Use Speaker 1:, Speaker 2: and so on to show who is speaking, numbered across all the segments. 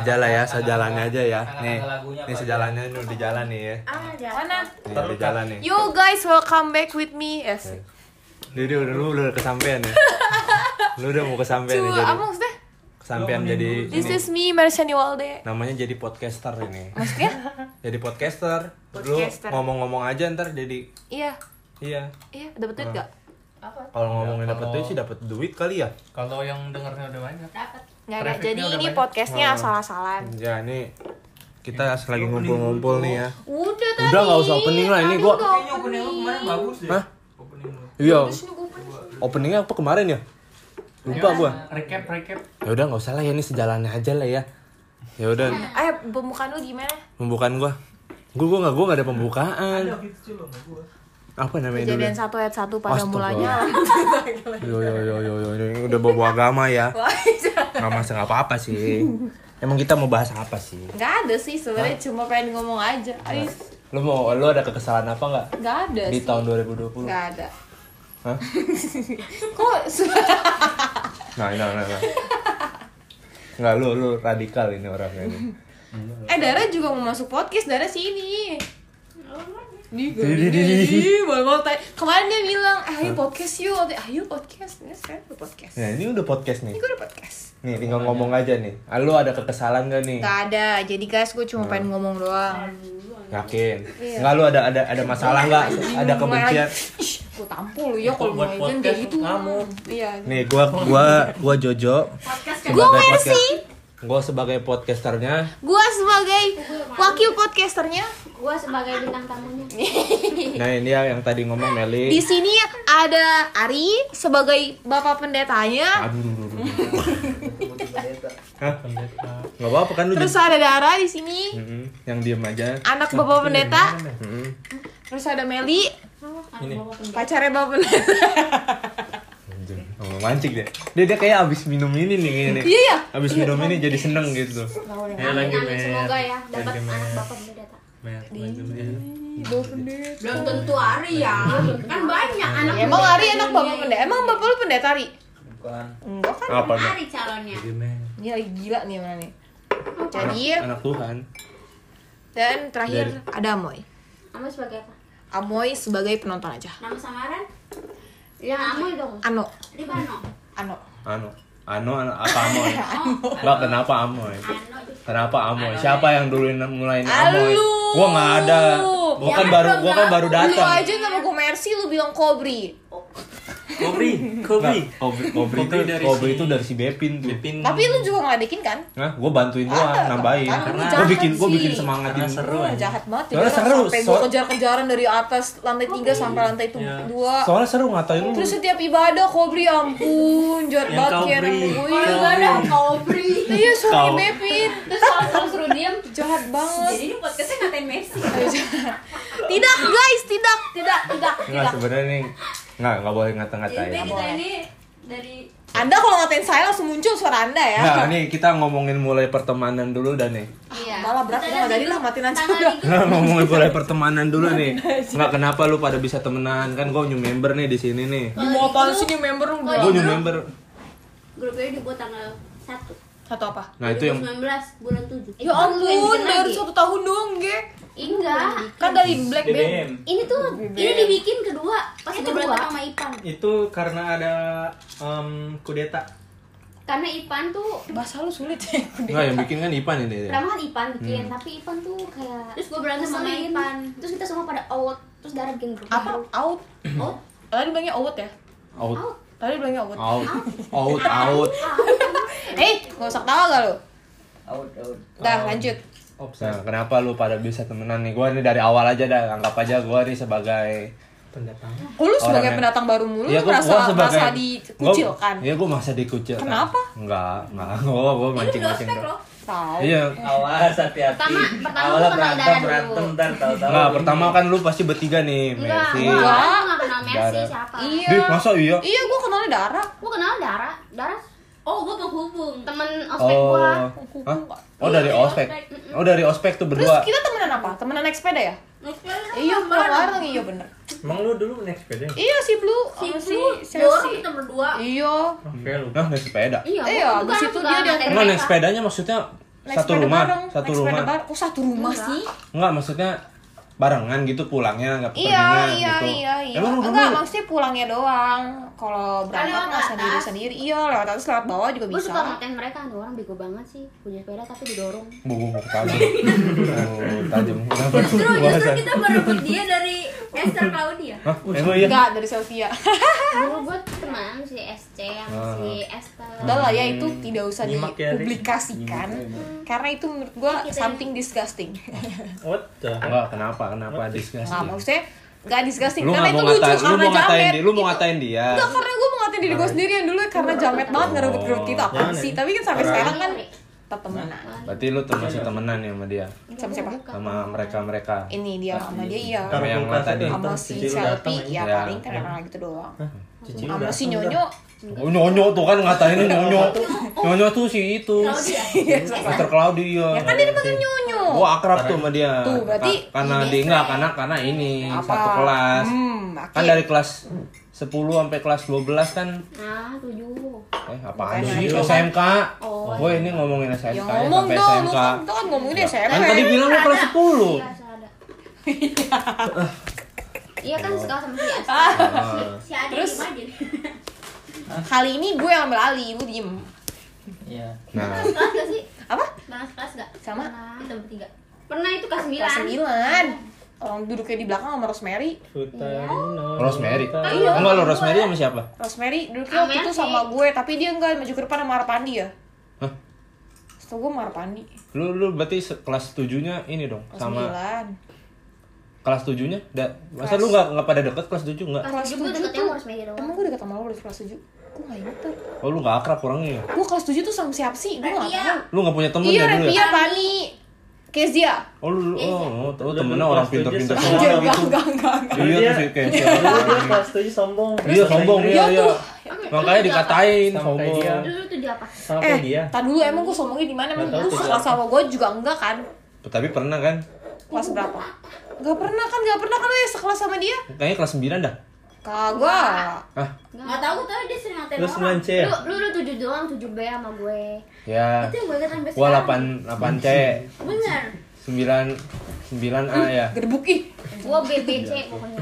Speaker 1: aja lah ya sejalannya aja ya
Speaker 2: Kata-kata
Speaker 1: nih
Speaker 2: lagunya
Speaker 1: nih
Speaker 2: apa
Speaker 1: sejalannya nih di jalan nih ya
Speaker 3: Ah, jangan.
Speaker 4: Mana?
Speaker 1: nih di jalan nih
Speaker 4: You guys welcome back with me. Yes.
Speaker 1: jadi udah lu udah kesampean ya lu udah mau kesampean
Speaker 4: Cu,
Speaker 1: nih jadi
Speaker 4: apa maksudnya?
Speaker 1: kesampean jadi
Speaker 4: This
Speaker 1: ini.
Speaker 4: is me, Marshani Walde.
Speaker 1: namanya jadi podcaster ini
Speaker 4: Maksudnya?
Speaker 1: jadi podcaster, lu
Speaker 4: Podcaster.
Speaker 1: ngomong-ngomong aja ntar jadi
Speaker 4: Iya.
Speaker 1: iya
Speaker 4: Iya, dapat duit gak?
Speaker 3: Apa?
Speaker 1: kalau ngomongin
Speaker 2: Ya,
Speaker 1: dapat
Speaker 2: kalau-
Speaker 1: duit sih dapat duit kali ya
Speaker 2: Kalau yang dengernya udah banyak.
Speaker 3: Dapat.
Speaker 4: Nggak ada.
Speaker 2: Trafficnya
Speaker 4: Jadi
Speaker 2: udah
Speaker 4: ini
Speaker 2: banyak.
Speaker 4: podcastnya asal-asalan.
Speaker 1: ya ini kita lagi ngumpul-ngumpul nih ya
Speaker 4: Udah tadi.
Speaker 1: Udah, nggak usah opening lah, ini
Speaker 4: Tadi
Speaker 1: gua-
Speaker 4: udah
Speaker 2: Kayaknya opening lu kemarin bagus deh.
Speaker 1: Hah?
Speaker 2: Opening lu.
Speaker 1: iya
Speaker 4: Terus ini gua opening.
Speaker 1: openingnya apa kemarin ya lupa
Speaker 2: Iya.
Speaker 1: gua
Speaker 2: Recap, recap.
Speaker 1: ya udah nggak usah lah ya ini sejalannya aja lah ya ya udah
Speaker 4: Eh, pembukaan lu gimana?
Speaker 1: pembukaan gua gua gua nggak gua nggak ada pembukaan
Speaker 2: Ada gitu sih lo sama gua.
Speaker 1: apa namanya dulu
Speaker 4: Kejadian satu ayat satu pada
Speaker 1: Astaga.
Speaker 4: mulanya.
Speaker 1: yo yo yo yo yo ini udah bawa bawa agama ya nggak masa nggak apa apa sih emang kita mau bahas apa sih
Speaker 4: Nggak ada sih sebenarnya cuma pengen ngomong aja. Aris,
Speaker 1: lu mau lu ada kekesalan apa nggak
Speaker 4: nggak ada
Speaker 1: di
Speaker 4: sih.
Speaker 1: tahun 2020
Speaker 4: Nggak ada.
Speaker 1: Hah?
Speaker 4: Kok sudah
Speaker 1: nah nah nah, nah. nggak lu lu radikal ini orangnya ini
Speaker 4: Eh Dara juga mau masuk podcast Dara sini. Nih, gue
Speaker 1: Di, di, di, di.
Speaker 4: ini, mau mau tanya. Kemarin dia bilang, "Ah, ayo podcast yuk, ayo podcast, ya sekarang udah podcast.
Speaker 1: nah ini udah podcast nih
Speaker 4: Ini gue udah podcast.
Speaker 1: nih tinggal ngomong aja nih Ah, lu ada kekesalan gak nih
Speaker 4: Gak ada, jadi guys gue cuma pengen ngomong doang.
Speaker 1: yakin
Speaker 4: Iya.
Speaker 1: nggak lu ada ada ada masalah nggak ada kebencian
Speaker 4: Ih, gue tampol lu ya
Speaker 2: Kalau
Speaker 4: kalau mau
Speaker 2: buat
Speaker 4: izin
Speaker 2: podcast,
Speaker 4: kayak gitu.
Speaker 2: ngamuk.
Speaker 4: Iya.
Speaker 1: Nih gua gua gua Jojo.
Speaker 4: Gua
Speaker 1: sebagai
Speaker 4: Mercy.
Speaker 1: podcast- Gua sebagai podcasternya.
Speaker 4: Gue sebagai wakil podcasternya
Speaker 3: Gua sebagai bintang tamunya.
Speaker 1: Nah, ini ya yang tadi ngomong
Speaker 4: di
Speaker 1: Meli.
Speaker 4: sini ada Ari sebagai bapak pendetanya.
Speaker 1: Aduh, aduh, aduh, aduh.
Speaker 2: Pendeta.
Speaker 1: Nggak apa-apa kan lu.
Speaker 4: Terus
Speaker 1: jadi- Hmm.
Speaker 4: ada Dara di sini,
Speaker 1: Mm-mm, yang diem aja.
Speaker 4: anak bapak pendeta.
Speaker 1: Mm-mm.
Speaker 4: Terus ada Meli,
Speaker 2: Ini.
Speaker 4: pacarnya bapak pendeta.
Speaker 1: Anjing, oh, mancing deh. Dia dia kayak abis minum ini nih kayaknya. nih.
Speaker 4: Iya, iya.
Speaker 1: Abis minum ini jadi seneng gitu.
Speaker 2: Ya lagi
Speaker 3: Amin, semoga ya dapat
Speaker 2: Lagi,
Speaker 3: anak
Speaker 2: Mer.
Speaker 3: bapak pendeta.
Speaker 2: Mer, lanjut, Mer.
Speaker 3: Belum tentu Ari ya. Kan banyak anak.
Speaker 4: Emang Ari anak bapak pendeta? Emang bapak lu pendeta Ari?
Speaker 2: Bukan.
Speaker 4: Enggak kan?
Speaker 1: Apa nih?
Speaker 3: Ari calonnya.
Speaker 2: Jadi, Mer.
Speaker 4: Dia lagi gila nih mana nih.
Speaker 1: Anak,
Speaker 4: Jadi
Speaker 1: anak Tuhan.
Speaker 4: dan terakhir ada Amoy.
Speaker 3: Kamu sebagai apa?
Speaker 4: Amoy sebagai penonton aja.
Speaker 3: Nama samaran? Ya, Amoy dong.
Speaker 4: Ano,
Speaker 3: Ribano.
Speaker 4: Ano.
Speaker 1: Anu. Anu anu, apa Amoy? Mbak kenapa Amoy?
Speaker 4: Anu.
Speaker 3: Ano.
Speaker 1: Kenapa Amoy? Siapa yang duluin mulain Amoy?
Speaker 4: Alu.
Speaker 1: Gua nggak ada. Gua kan
Speaker 3: Jangan
Speaker 1: baru
Speaker 3: dong,
Speaker 1: gua kan
Speaker 3: jangan.
Speaker 1: baru
Speaker 4: Lu
Speaker 1: datang.
Speaker 4: aja nama gue Mercy lu bilang Kobri.
Speaker 2: Kobri,
Speaker 1: Nggak,
Speaker 2: Kobri.
Speaker 1: Kobri, Kobri,
Speaker 2: Kobri
Speaker 1: itu,
Speaker 2: dari
Speaker 1: Kobri
Speaker 2: si-
Speaker 1: itu dari si Bepin tuh.
Speaker 2: Pipin.
Speaker 4: Tapi lu juga ngadekin kan?
Speaker 1: Nah, gue bantuin doang,
Speaker 4: Ada,
Speaker 1: nambahin.
Speaker 4: kan lu
Speaker 1: Karena gue
Speaker 4: jahat
Speaker 1: bikin, gue
Speaker 4: sih.
Speaker 1: bikin semangatin.
Speaker 2: Karena seru
Speaker 4: Lu
Speaker 2: aja.
Speaker 4: jahat banget
Speaker 1: Soalnya
Speaker 4: ya. kan?
Speaker 1: seru,
Speaker 4: Sampai gue
Speaker 1: so-
Speaker 4: kejar-kejaran dari atas lantai 3 sampai lantai tu-
Speaker 2: Iya.
Speaker 4: dua.
Speaker 1: Soalnya seru ngatain lu.
Speaker 4: Terus setiap ibadah Kobri ampun, jahat
Speaker 2: Yang
Speaker 4: banget kayak
Speaker 2: Kobri.
Speaker 4: nama
Speaker 3: Oh,
Speaker 4: gue.
Speaker 3: enggak ada Kobri.
Speaker 4: Iya, sorry
Speaker 1: Kau.
Speaker 4: Bepin.
Speaker 3: Terus kalau suruh suruh diem,
Speaker 4: Jahat banget.
Speaker 3: ini podcastnya ngatain Messi.
Speaker 4: Tidak, guys, tidak.
Speaker 3: Tidak, tidak,
Speaker 1: Enggak
Speaker 3: tidak.
Speaker 1: sebenarnya nih, enggak enggak boleh ngata-ngatain.
Speaker 3: Jadi kita
Speaker 4: Boleh.
Speaker 3: ini dari
Speaker 4: Anda kalau ngatain saya langsung muncul suara Anda ya.
Speaker 1: Nah, nih kita ngomongin mulai pertemanan dulu dah nih.
Speaker 3: Iya.
Speaker 4: Malah berat
Speaker 3: Kita
Speaker 4: banget,
Speaker 3: dari-
Speaker 4: jadi lah matiin aja
Speaker 3: tangan
Speaker 4: udah.
Speaker 3: dikit.
Speaker 1: Nah, ngomongin mulai pertemanan dulu nih.
Speaker 4: Nah,
Speaker 1: Enggak kenapa lu pada bisa temenan? Kan gue new member nih di sini nih.
Speaker 4: Di mau apaan sih new member lu?
Speaker 3: Kalau
Speaker 1: Gue new
Speaker 3: dulu-
Speaker 1: member.
Speaker 3: Grupnya dibuat tanggal 1
Speaker 4: Satu apa?
Speaker 1: Nah, itu yang
Speaker 3: 19 bulan 7
Speaker 4: Ya ampun, baru satu tahun doang, Ge.
Speaker 3: Enggak
Speaker 4: Kan dari Black Band.
Speaker 2: BBM.
Speaker 3: Ini tuh, ini dibikin kedua Pas itu
Speaker 4: kedua.
Speaker 3: berantem sama Ipan
Speaker 2: Itu karena ada em, kudeta.
Speaker 3: Karena Ipan tuh
Speaker 4: Bahasa lu sulit ya.
Speaker 1: enggak yang bikin kan Ipan ini. ya.
Speaker 3: Pertama kan Ipan bikin, tapi Ipan tuh kayak Terus gue berantem sama Ipan Terus kita semua pada out Terus darah bikin grup
Speaker 4: Apa?
Speaker 3: baru.
Speaker 4: Out.
Speaker 3: Out?
Speaker 4: Tadi bilangnya out ya?
Speaker 1: Out,
Speaker 3: Out?
Speaker 4: Tadi bilangnya out.
Speaker 1: out, out, out.
Speaker 4: Eh, gak usah ketawa gak lu? Dah, lanjut.
Speaker 1: Nah, kenapa lu pada bisa temenan nih? Gue nih dari awal aja dah, anggap aja gue nih sebagai
Speaker 2: Pendatang.
Speaker 4: Kok lu sebagai
Speaker 1: Orangnya-
Speaker 4: pendatang baru mulu, lu
Speaker 1: Iya, gua-
Speaker 4: merasa,
Speaker 1: gua sebagai-
Speaker 4: merasa dikucilkan?
Speaker 1: Gua, iya, gue merasa dikucilkan.
Speaker 4: Kenapa?
Speaker 1: Enggak, enggak. Gue gua mancing-mancing.
Speaker 3: Ospek loh
Speaker 4: Tahu.
Speaker 1: Iya.
Speaker 5: Awas hati-hati.
Speaker 3: Pertama- pertama
Speaker 5: Awalnya
Speaker 3: lu kenal
Speaker 5: berantem
Speaker 3: Dara dulu.
Speaker 5: berantem ntar tahu-tahu.
Speaker 1: Nah, pertama kan lu pasti bertiga nih,
Speaker 3: Enggak,
Speaker 1: Messi.
Speaker 3: gue gak kenal Messi
Speaker 1: Darah.
Speaker 3: siapa
Speaker 4: Iya.
Speaker 1: Dih, masa iya?
Speaker 4: Iya, gua kenalnya Dara.
Speaker 3: Gue kenal Dara Dara Oh, gue penghubung Temen ospek
Speaker 1: Oh.
Speaker 3: gue
Speaker 1: Hah? Oh, dari ospek. Oh, dari ospek tuh
Speaker 4: Iya, Terus
Speaker 1: berdua.
Speaker 4: kita temenan apa? Temenan naik sepeda ya? Iya,
Speaker 3: Iya,
Speaker 4: pulang bareng, iya bener.
Speaker 2: Emang lu dulu naik sepeda?
Speaker 4: Iya si Blue,
Speaker 3: Si
Speaker 4: sama
Speaker 3: si
Speaker 4: si
Speaker 3: dorong
Speaker 4: Chelsea.
Speaker 3: kita berdua.
Speaker 4: Iya.
Speaker 2: Oke, lu.
Speaker 1: Nah, naik sepeda.
Speaker 3: Iya,
Speaker 4: Iya,
Speaker 3: gua- gua
Speaker 4: abis
Speaker 3: kan
Speaker 4: itu
Speaker 3: suka
Speaker 4: dia
Speaker 3: ngatain
Speaker 4: diantar-
Speaker 1: Emang naik
Speaker 3: mereka.
Speaker 1: sepedanya maksudnya
Speaker 4: Like
Speaker 1: Satu
Speaker 4: sepeda
Speaker 1: rumah? Satu
Speaker 4: bareng, like sepeda
Speaker 1: rumah?
Speaker 4: bareng. Kok satu rumah
Speaker 3: Enggak.
Speaker 4: sih?
Speaker 1: Enggak, maksudnya barengan gitu pulangnya nggak
Speaker 4: Iya,
Speaker 1: pertandingan
Speaker 4: iya,
Speaker 1: gitu.
Speaker 4: iya, iya.
Speaker 1: Emang rumah
Speaker 4: Enggak,
Speaker 1: lu-
Speaker 4: maksudnya pulangnya doang. Kalau berangkat
Speaker 3: lewat
Speaker 4: nggak sendiri
Speaker 3: atas.
Speaker 4: sendiri. Iya, lewat atas lewat bawah juga
Speaker 3: Gue
Speaker 4: bisa.
Speaker 3: suka ngatain mereka, ada orang bego banget sih Punya sepeda tapi didorong
Speaker 1: Bu, bu, bu, tajam. Oh, tajam. Kenapa?
Speaker 6: Justru, justru
Speaker 1: Puasa.
Speaker 6: kita merebut dia dari Esther Claudia.
Speaker 1: Hah? Emang iya?
Speaker 4: Enggak, dari Sylvia.
Speaker 3: Dulu gue teman si SC sama
Speaker 1: Ah.
Speaker 3: si Esther
Speaker 4: Udah lah
Speaker 1: Hmm.
Speaker 4: ya, itu tidak usah
Speaker 2: Nyimak ya, Ri.
Speaker 4: dipublikasikan.
Speaker 1: ya,
Speaker 4: Karena itu menurut gue
Speaker 3: Kita-
Speaker 4: something disgusting.
Speaker 2: What the?
Speaker 1: Enggak, kenapa? Kenapa disgusting?
Speaker 4: Nggak, maksudnya nggak disgusting.
Speaker 1: Lu
Speaker 4: karena
Speaker 1: nggak
Speaker 4: itu
Speaker 1: mau
Speaker 4: lucu,
Speaker 1: ngatain, lu
Speaker 4: karena
Speaker 1: mau ngatain
Speaker 4: jamet.
Speaker 1: dia, lu mau
Speaker 4: Itu-
Speaker 1: ngatain dia.
Speaker 4: Enggak, karena gue mau ngatain diri gue sendiri yang dulu karena jamet banget ngerebut-ngerebut kita apa
Speaker 2: Jangan,
Speaker 4: sih.
Speaker 2: ya.
Speaker 4: Tapi kan sampai sekarang kan
Speaker 3: Ri.
Speaker 4: tetap temenan.
Speaker 1: Berarti lu tuh masih temenan ya sama dia?
Speaker 4: Sama siapa?
Speaker 3: Bukan.
Speaker 1: Sama mereka-mereka?
Speaker 4: Ini dia sama dia iya.
Speaker 1: Sama yang
Speaker 2: kulkas
Speaker 1: tadi.
Speaker 2: datang,
Speaker 4: Sama si
Speaker 2: cuci lu datang,
Speaker 4: Selfie ya
Speaker 1: Ya.
Speaker 4: paling kan emang gitu doang.
Speaker 2: Cuci lu
Speaker 4: Sama si
Speaker 2: datang,
Speaker 4: Nyonyo
Speaker 1: Oh, nyonyo tuh kan ngatain nyonyo. Nyonyo tuh si itu. Mister Claudia.
Speaker 4: Eh, Ya kan dia dipanggil Nyonyo.
Speaker 1: Gua akrab tuh sama dia.
Speaker 4: Tuh, berarti
Speaker 1: Ka- karena
Speaker 4: ini
Speaker 1: dia enggak karena karena ini satu kelas.
Speaker 4: Hmm, oke.
Speaker 1: Kan dari kelas 10 sampai kelas 12 kan
Speaker 3: Nah, tujuh
Speaker 1: eh apaan
Speaker 4: Bukan,
Speaker 1: sih
Speaker 4: itu kan-
Speaker 1: SMK?
Speaker 3: Oh,
Speaker 1: Gue ini ngomongin SMK
Speaker 4: Ya
Speaker 1: ya,
Speaker 4: ngomong
Speaker 1: sampai
Speaker 4: dong, lu
Speaker 1: SMK.
Speaker 4: kan, lu kan ngomongin dia SMP.
Speaker 1: Kan tadi bilang lu kelas 10.
Speaker 3: Iya, ada. Iya kan
Speaker 2: Oh.
Speaker 3: suka sama si Esther
Speaker 1: Ah.
Speaker 6: Si Adi
Speaker 4: Terus?
Speaker 6: gimana dia?
Speaker 4: Kali ini gue yang ambil alih, lu diem.
Speaker 5: Iya.
Speaker 1: Nah,
Speaker 6: Kelas gak sih?
Speaker 4: Apa?
Speaker 6: Barang kelas gak?
Speaker 4: Sama.
Speaker 6: Kita bertiga.
Speaker 3: Pernah itu kelas
Speaker 4: Kelas
Speaker 3: 9
Speaker 4: 9. Orang duduknya di belakang sama Rosemary.
Speaker 2: Sutarino.
Speaker 1: Rosemary.
Speaker 2: Sutarino.
Speaker 4: Iya.
Speaker 1: Enggak lo Rosemary sama siapa?
Speaker 4: Rosemary duduknya waktu
Speaker 3: Sama
Speaker 4: itu
Speaker 3: si-
Speaker 4: sama gue, tapi dia enggak maju ke depan sama Arpandi ya.
Speaker 1: Hah?
Speaker 4: Setahu gue sama Arpandi.
Speaker 1: Lu lu berarti se- kelas 7-nya ini dong
Speaker 4: Kelas
Speaker 1: sama
Speaker 4: 9.
Speaker 1: kelas 7-nya? Da- masa lu enggak enggak pada deket kelas 7 enggak?
Speaker 3: Kelas
Speaker 4: Kelas
Speaker 3: tujuh gue
Speaker 4: tujuh
Speaker 3: deketnya
Speaker 4: tuh.
Speaker 3: ya, harus meja doang
Speaker 4: Emang gue deket sama lo dari kelas 7? Gue gak inget tuh.
Speaker 1: Oh, lu enggak akrab orangnya. ya?
Speaker 4: Gue kelas 7 tuh sama siapa sih? Gue gak tau.
Speaker 6: Iya.
Speaker 1: Lu enggak punya temen
Speaker 4: Iya,
Speaker 1: ya dulu ya?
Speaker 4: Repia, Pani. Kezia.
Speaker 1: Oh, lu lu- oh, oh,
Speaker 2: Lu
Speaker 1: temennya
Speaker 2: dulu
Speaker 1: orang
Speaker 2: kelas
Speaker 1: pintar-pintar
Speaker 2: 7
Speaker 1: semua
Speaker 4: Anjir,
Speaker 1: gitu.
Speaker 4: enggak, enggak, enggak, enggak.
Speaker 1: Iya tuh sih kayak siapa
Speaker 2: Dulu
Speaker 1: dulu.
Speaker 2: dia kelas tujuh sombong.
Speaker 1: Iya sombong iya iya.
Speaker 4: tuh.
Speaker 1: Makanya dikatain
Speaker 2: Sampai
Speaker 1: sombong.
Speaker 2: dia.
Speaker 6: Dulu tuh dia apa?
Speaker 2: Sampai dia.
Speaker 4: Tadi Eh, dulu emang gue sombongnya di mana? Emang
Speaker 2: Nggak tahu
Speaker 4: lu
Speaker 2: sih,
Speaker 4: sekelas sama gue juga enggak kan?
Speaker 1: Tapi pernah kan?
Speaker 4: Kelas berapa? Gak pernah kan, gak pernah kan lu yang sekelas sama dia?
Speaker 1: Kayaknya kelas 9 dah. Ah,
Speaker 4: Kagak.
Speaker 1: Hah?
Speaker 6: Gak tau, gue tau dia sering ngatain
Speaker 2: Lu
Speaker 6: orang.
Speaker 2: 9 C ya?
Speaker 3: Lu, lu, lu tujuh doang, tujuh B sama gue
Speaker 1: Ya.
Speaker 6: Itu yang gue ingat sampai
Speaker 1: Gua
Speaker 6: sekarang.
Speaker 1: 8 8 C,
Speaker 6: Bener.
Speaker 1: 9 9 A ya.
Speaker 4: Gerbuk ih.
Speaker 3: Gue B, B, C pokoknya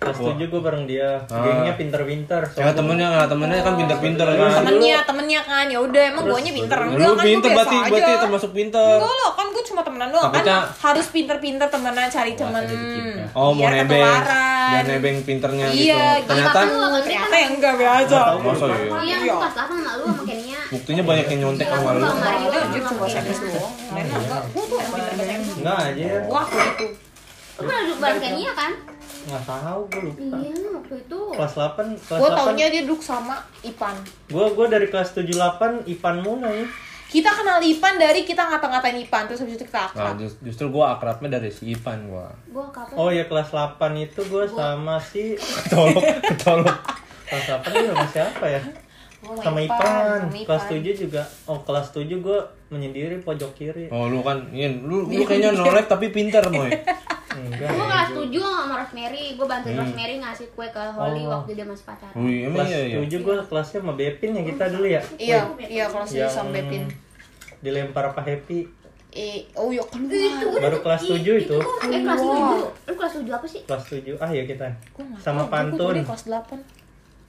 Speaker 2: Kelas tujuh gue bareng dia.
Speaker 1: Ah.
Speaker 2: Gengnya pinter-pinter.
Speaker 1: Ya temennya nggak temennya kan pinter-pinter kan.
Speaker 4: Temennya, temennya kan. Ya udah, emang gue nya pinter.
Speaker 1: Lu
Speaker 4: kan,
Speaker 1: pinter
Speaker 4: Iya, gua
Speaker 1: berarti
Speaker 4: biasa
Speaker 1: berarti
Speaker 4: aja.
Speaker 1: termasuk pinter.
Speaker 4: Enggak loh, kan gue cuma temenan doang kan
Speaker 1: Takutnya-
Speaker 4: harus pinter-pinter temenan cari temen
Speaker 1: Oh mau
Speaker 4: Biar
Speaker 1: nebeng,
Speaker 4: ketularan.
Speaker 1: biar nebeng pinternya gitu.
Speaker 4: iya gitu
Speaker 1: Ternyata
Speaker 4: Tapi lu- ternyata yang Eh, enggak biasa
Speaker 1: masa ya?
Speaker 3: Iya, aku kelas 8 sama lu sama Kenia
Speaker 1: Buktinya banyak yang nyontek sama lu. Nah,
Speaker 3: Sama Mario,
Speaker 4: Enggak, anjir,
Speaker 3: sama
Speaker 4: cuma
Speaker 3: Kenia
Speaker 4: SMS doang. Lain enggak. Gua tuh emang pinter bahasa Inggris.
Speaker 2: Enggak aja.
Speaker 4: Wah, gitu.
Speaker 3: Lu pernah duduk bareng Kenia kan?
Speaker 2: Enggak tahu gue lupa.
Speaker 3: Iya, waktu itu
Speaker 2: Kelas 8, kelas
Speaker 4: Gua taunya
Speaker 2: 8.
Speaker 4: dia duduk sama Ipan.
Speaker 2: Gue gue dari kelas 7 8 Ipan Muna ya.
Speaker 4: Kita kenal Ipan dari kita ngata-ngatain Ipan terus habis itu kita
Speaker 1: Nah,
Speaker 4: akrab.
Speaker 1: just- justru gua akrabnya dari si Ipan gua.
Speaker 3: Gue kapan?
Speaker 2: Oh ya kelas 8 itu gue sama si
Speaker 1: Ketolok, ketolok.
Speaker 2: kelas 8 itu sama siapa ya?
Speaker 4: Gua
Speaker 2: Sama Ipan.
Speaker 4: sama
Speaker 2: Kelas 7 juga. Oh, kelas 7 gue menyendiri pojok kiri.
Speaker 1: Oh lu kan, Yin, lu, lu kayaknya nolep tapi pinter moy.
Speaker 2: Enggak.
Speaker 3: Gue kelas 7 sama Rosemary, gue bantuin Rosemary ngasih kue ke Holly
Speaker 2: Hmm. Oh.
Speaker 3: waktu dia masih pacaran
Speaker 1: Wih emang
Speaker 2: Kelas
Speaker 1: iya iya.
Speaker 2: 7 gue kelasnya sama Bepin ya kita dulu ya.
Speaker 4: Iya, iya kelas 7 sama Bepin.
Speaker 2: Dilempar apa Happy?
Speaker 4: Eh, oh iya keluar.
Speaker 2: Baru kelas 7 itu.
Speaker 3: Eh, kelas 7 Lu kelas 7 apa sih?
Speaker 2: Kelas 7. Ah ya kita.
Speaker 4: Gua nggak
Speaker 2: Sama
Speaker 4: tahu, gua- gua
Speaker 2: pantun.
Speaker 4: dari kelas kan, 8.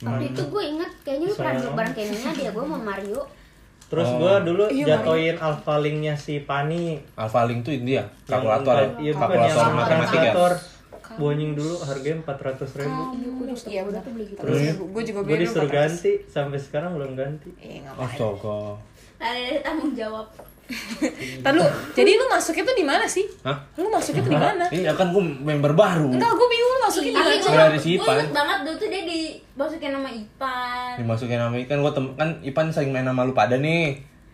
Speaker 3: Waktu
Speaker 2: Hmm.
Speaker 3: itu gue inget, kayaknya lu pernah
Speaker 2: Sayang.
Speaker 3: duduk bareng Kenia, dia gue sama Mario
Speaker 2: Terus
Speaker 1: Oh.
Speaker 2: gua dulu
Speaker 4: Iya,
Speaker 2: jatoin alpha linknya si Pani
Speaker 1: Alpha Link tuh dia,
Speaker 2: Yang
Speaker 1: kalkulator ya.
Speaker 2: empat- Iya bukan yang
Speaker 1: Kalkulator ya?
Speaker 3: yang
Speaker 1: matematika.
Speaker 2: kalkulator. Bu anjing dulu harganya 400 ribu
Speaker 4: Iya, udah.
Speaker 3: tuh beli gitu
Speaker 4: Terus gue juga
Speaker 2: Gue
Speaker 4: beli
Speaker 2: disuruh
Speaker 4: dulu, Pak.
Speaker 2: ganti, sampai sekarang belum ganti
Speaker 4: Eh, ngapain.
Speaker 1: Astaga.
Speaker 6: Nah, Ada dari tanggung jawab.
Speaker 4: Ntar lu, jadi lu masuknya tuh di mana sih?
Speaker 1: Hah?
Speaker 4: Lu masuknya tuh di mana?
Speaker 1: Iya kan gua member baru.
Speaker 4: Enggak, gue bingung lu masuknya di
Speaker 6: Tapi
Speaker 4: mana.
Speaker 6: gue
Speaker 1: Mulai dari si
Speaker 6: gue
Speaker 1: Ipan.
Speaker 6: inget banget dulu tuh dia dimasukin nama Ipan.
Speaker 1: Dimasukin nama Ikan, gua tem kan Ipan sering main sama lu pada nih.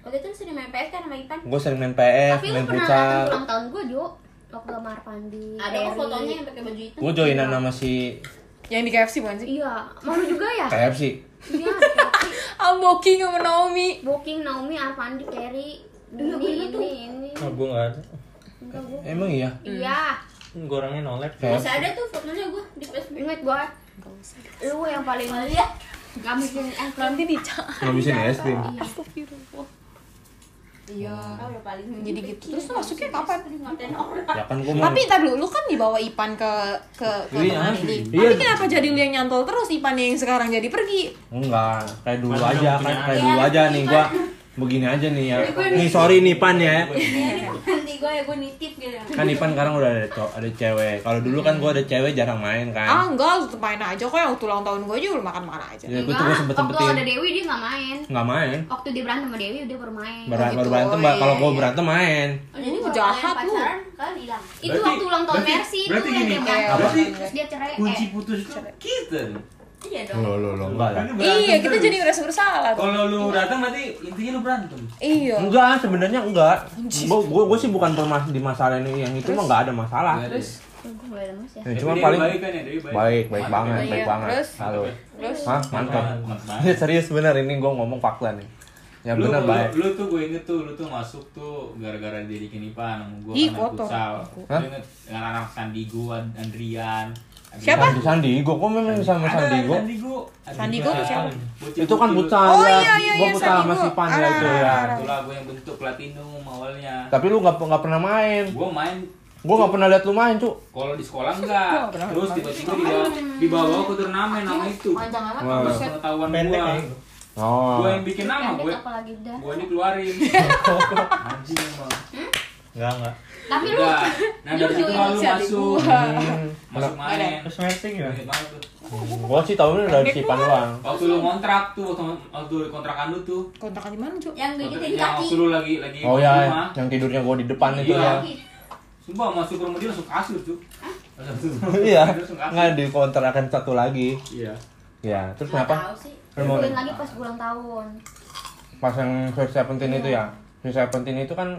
Speaker 6: Waktu itu sering main PS kan sama Ipan.
Speaker 1: Gua sering main PS,
Speaker 3: Tapi lu
Speaker 1: main
Speaker 3: pernah datang
Speaker 1: futsal.
Speaker 3: ulang tahun gue, Jo Waktu Iya, sama Arpandi
Speaker 4: Iya,
Speaker 6: Ada kok
Speaker 3: Ferry.
Speaker 6: fotonya yang pakai baju hitam.
Speaker 1: Gua joinan sama si
Speaker 4: Yang di KFC bukan sih?
Speaker 3: Iya, malu juga ya?
Speaker 1: KFC.
Speaker 3: Iya,
Speaker 4: Amboking sama Naomi.
Speaker 3: booking Naomi, Arpandi, Ferry Ini, ini, ini
Speaker 1: Oh,
Speaker 2: Nah gue gak ada
Speaker 3: Enggak, gue
Speaker 1: Emang iya.
Speaker 3: Iya,
Speaker 2: Gue orangnya nolep
Speaker 1: Kayak
Speaker 6: Masih ada tuh fotonya gue di Facebook.
Speaker 3: inget gue Lu yang paling
Speaker 6: Lihat.
Speaker 3: Gak mungkin eh,
Speaker 4: Nanti dicak.
Speaker 3: Iya.
Speaker 1: ngabisin es krim.
Speaker 4: Iya.
Speaker 6: Ah, udah paling
Speaker 4: Jadi gitu. Terus lu masuknya kapan?
Speaker 6: Ngotain orang.
Speaker 1: Ya kan gue mau
Speaker 4: Tapi ntar dulu, lu kan dibawa Ipan ke ke ke
Speaker 1: Iya,
Speaker 4: teman ini.
Speaker 1: iya.
Speaker 4: Tapi kenapa jadi lu yang nyantol terus Ipan yang sekarang jadi pergi?
Speaker 1: Enggak, kayak dulu
Speaker 5: Masih
Speaker 1: aja
Speaker 5: belum
Speaker 1: kan, kayak
Speaker 5: punya
Speaker 6: anak.
Speaker 1: dulu
Speaker 6: Iya,
Speaker 1: aja nih
Speaker 6: Ipan.
Speaker 1: gua begini aja nih ya.
Speaker 6: Ipan.
Speaker 1: Nih sorry nih Pan ya.
Speaker 6: Nanti gue ya gue nitip gitu.
Speaker 4: Hmm,
Speaker 1: Kan Ipan sekarang udah ada, co- ada cewek. Kalau dulu kan gua ada cewek jarang main
Speaker 4: Ah
Speaker 1: kan.
Speaker 4: enggak, lu tetep main aja kok yang waktu ulang tahun gue aja lu makan-makan aja.
Speaker 1: Ya gue
Speaker 6: Enggak,
Speaker 1: tuh gua sempet
Speaker 6: Waktu Oh, ada Gitu.
Speaker 1: sempetin
Speaker 6: Dewi dia nggak main.
Speaker 1: nggak main.
Speaker 6: Waktu dia berantem sama Dewi dia baru main.
Speaker 1: Baru,
Speaker 4: gitu.
Speaker 1: baru berantem, Mbak. kalau gua berantem main.
Speaker 6: Oh, jadi
Speaker 4: Lu
Speaker 6: kalau
Speaker 4: jahat
Speaker 6: kalian
Speaker 4: lu.
Speaker 6: pacaran, kalian hilang. Itu
Speaker 5: Berarti-
Speaker 6: waktu ulang tahun
Speaker 5: berarti-
Speaker 6: Mercy itu
Speaker 5: berarti
Speaker 6: yang
Speaker 5: gini,
Speaker 6: dia
Speaker 4: Kayak
Speaker 6: berantem.
Speaker 5: apa?
Speaker 4: orang-
Speaker 6: Terus dia cerai.
Speaker 5: kunci
Speaker 6: Eh,
Speaker 5: putus itu kita nih.
Speaker 6: iya dong.
Speaker 1: Lo lo lo.
Speaker 5: Ini berantem
Speaker 4: Iya, kita
Speaker 5: terus.
Speaker 4: jadi merasa bersalah. tuh.
Speaker 5: kalau lu datang berarti intinya lu berantem
Speaker 1: Ya,
Speaker 4: Iya.
Speaker 1: Oh. Enggak, sebenarnya enggak. Gua gua, gua sih bukan permas di masalah ini yang itu mah enggak ada masalah.
Speaker 5: terus
Speaker 6: Gue boleh lemes ya.
Speaker 1: Ya, cuma paling
Speaker 5: baik kan ya Dewi baik
Speaker 1: baik, baik banget,
Speaker 4: Iya,
Speaker 1: baik banget.
Speaker 4: terus?
Speaker 1: Halo.
Speaker 4: Terus
Speaker 1: Hah, mantap.
Speaker 5: Mantap banget.
Speaker 1: Ya, serius bener ini gua ngomong fakta nih. Ya
Speaker 5: lu,
Speaker 1: bener
Speaker 5: lu,
Speaker 1: baik.
Speaker 5: lu tuh gue inget tuh lu tuh masuk tuh gara-gara didikin Ipan sama gue
Speaker 4: Ih,
Speaker 5: kan main
Speaker 4: kotor.
Speaker 5: futsal
Speaker 1: Hah?
Speaker 5: lu inget dengan anak Sandigo Ad- Andrian
Speaker 4: Siapa?
Speaker 1: Sandi Sandigo, kok memang sama
Speaker 5: Ada
Speaker 1: Sandigo?
Speaker 5: Sandigo
Speaker 4: Sandigo tuh siapa?
Speaker 5: Bocil-
Speaker 1: Itu kan
Speaker 5: bocil-
Speaker 1: futsal
Speaker 4: Oh,
Speaker 1: ya.
Speaker 4: iya, iya,
Speaker 1: Gua
Speaker 4: iya,
Speaker 1: futsal sama
Speaker 4: Sandigo.
Speaker 1: si Pan ya itu ya.
Speaker 5: Nah, itulah gue yang bentuk platinum awalnya
Speaker 1: Tapi lu nggak nggak pernah main.
Speaker 5: gue main
Speaker 1: Gua nggak pernah lihat lu main, Cuk.
Speaker 5: kalau di sekolah enggak
Speaker 4: Kenapa?
Speaker 5: terus tiba-tiba dibawa, dibawa ke turnamen nama itu
Speaker 6: Panjang amat.
Speaker 1: Wah.
Speaker 5: Atas pengetahuan
Speaker 2: Pendek
Speaker 5: gue
Speaker 1: ya
Speaker 2: kayak gitu.
Speaker 1: Nah. Oh.
Speaker 5: gue yang bikin nama
Speaker 6: Pendek
Speaker 5: gue
Speaker 6: apalagi udah.
Speaker 5: gue dikeluarin anjing emang
Speaker 2: Enggak, enggak.
Speaker 6: Tapi lu
Speaker 5: udah nah dari situ
Speaker 4: Jujur,
Speaker 5: lalu
Speaker 4: jadi
Speaker 5: masuk
Speaker 4: gua.
Speaker 1: Hmm.
Speaker 5: masuk main
Speaker 2: Terus ya? Mercy gimana?
Speaker 1: Iya,
Speaker 5: Ingat banget tuh.
Speaker 1: Gua sih tahunya dari si Pan doang.
Speaker 5: waktu lu kontrak tuh waktu waktu lu kontrakan lu tuh
Speaker 4: kontrakan di mana, Cuk?
Speaker 3: Ya.
Speaker 6: yang
Speaker 1: Iya,
Speaker 6: gigitin
Speaker 5: yang
Speaker 6: kaki.
Speaker 5: waktu lu lagi lagi
Speaker 1: Oh
Speaker 5: di
Speaker 1: ya,
Speaker 5: rumah
Speaker 1: yang tidurnya gua di depan itu ya.
Speaker 5: Iya. sumpah masuk ke rumah dia langsung kasur tuh
Speaker 1: Iya,
Speaker 5: langsung kasur
Speaker 1: nggak dikontrakan satu lagi.
Speaker 5: iya
Speaker 1: Ya, terus
Speaker 6: Nggak
Speaker 1: kenapa?
Speaker 6: tahu sih.
Speaker 1: Remote.
Speaker 6: Dikumpulin lagi pas ulang tahun.
Speaker 1: Pas yang Sweet Seventeen itu ya. Sweet Seventeen itu kan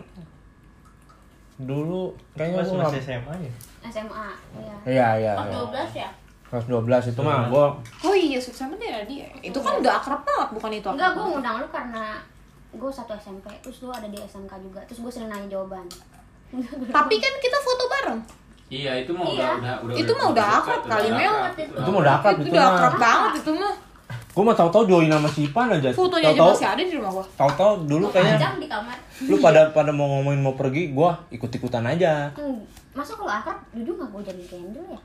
Speaker 1: dulu kayaknya
Speaker 2: Pas
Speaker 1: gua
Speaker 2: masih
Speaker 1: nggak-
Speaker 2: SMA ya?
Speaker 6: SMA. Iya.
Speaker 1: Iya, iya.
Speaker 6: Pas
Speaker 1: iya.
Speaker 6: 12 ya?
Speaker 1: Kelas 12 itu mah gua
Speaker 4: Oh iya, Subsamen dia dia. Itu kan udah akrab banget, bukan itu
Speaker 6: Enggak, gue
Speaker 4: banget.
Speaker 6: ngundang lu karena gue satu SMP, terus lu ada di SMK juga, terus gue sering nanya jawaban.
Speaker 4: Tapi kan kita foto bareng.
Speaker 5: iya itu mah udah
Speaker 6: Iya.
Speaker 5: udah udah
Speaker 4: Itu mah udah akrab kali, Mel.
Speaker 1: itu mau dapat
Speaker 4: itu
Speaker 1: itu
Speaker 4: udah akrab
Speaker 1: mah.
Speaker 4: banget itu mah.
Speaker 1: Gua mah tahu-tahu join sama si Ipan aja.
Speaker 4: Fotonya aja
Speaker 1: Tahu-tahu-
Speaker 4: masih ada di rumah gua.
Speaker 1: tahu-tahu dulu kayaknya
Speaker 6: Panjang di kamar.
Speaker 1: lu pada pada mau ngomongin mau pergi, gua ikut-ikutan aja.
Speaker 6: Hmm, masa kalau akrab, dulu nggak gue jadi candle ya?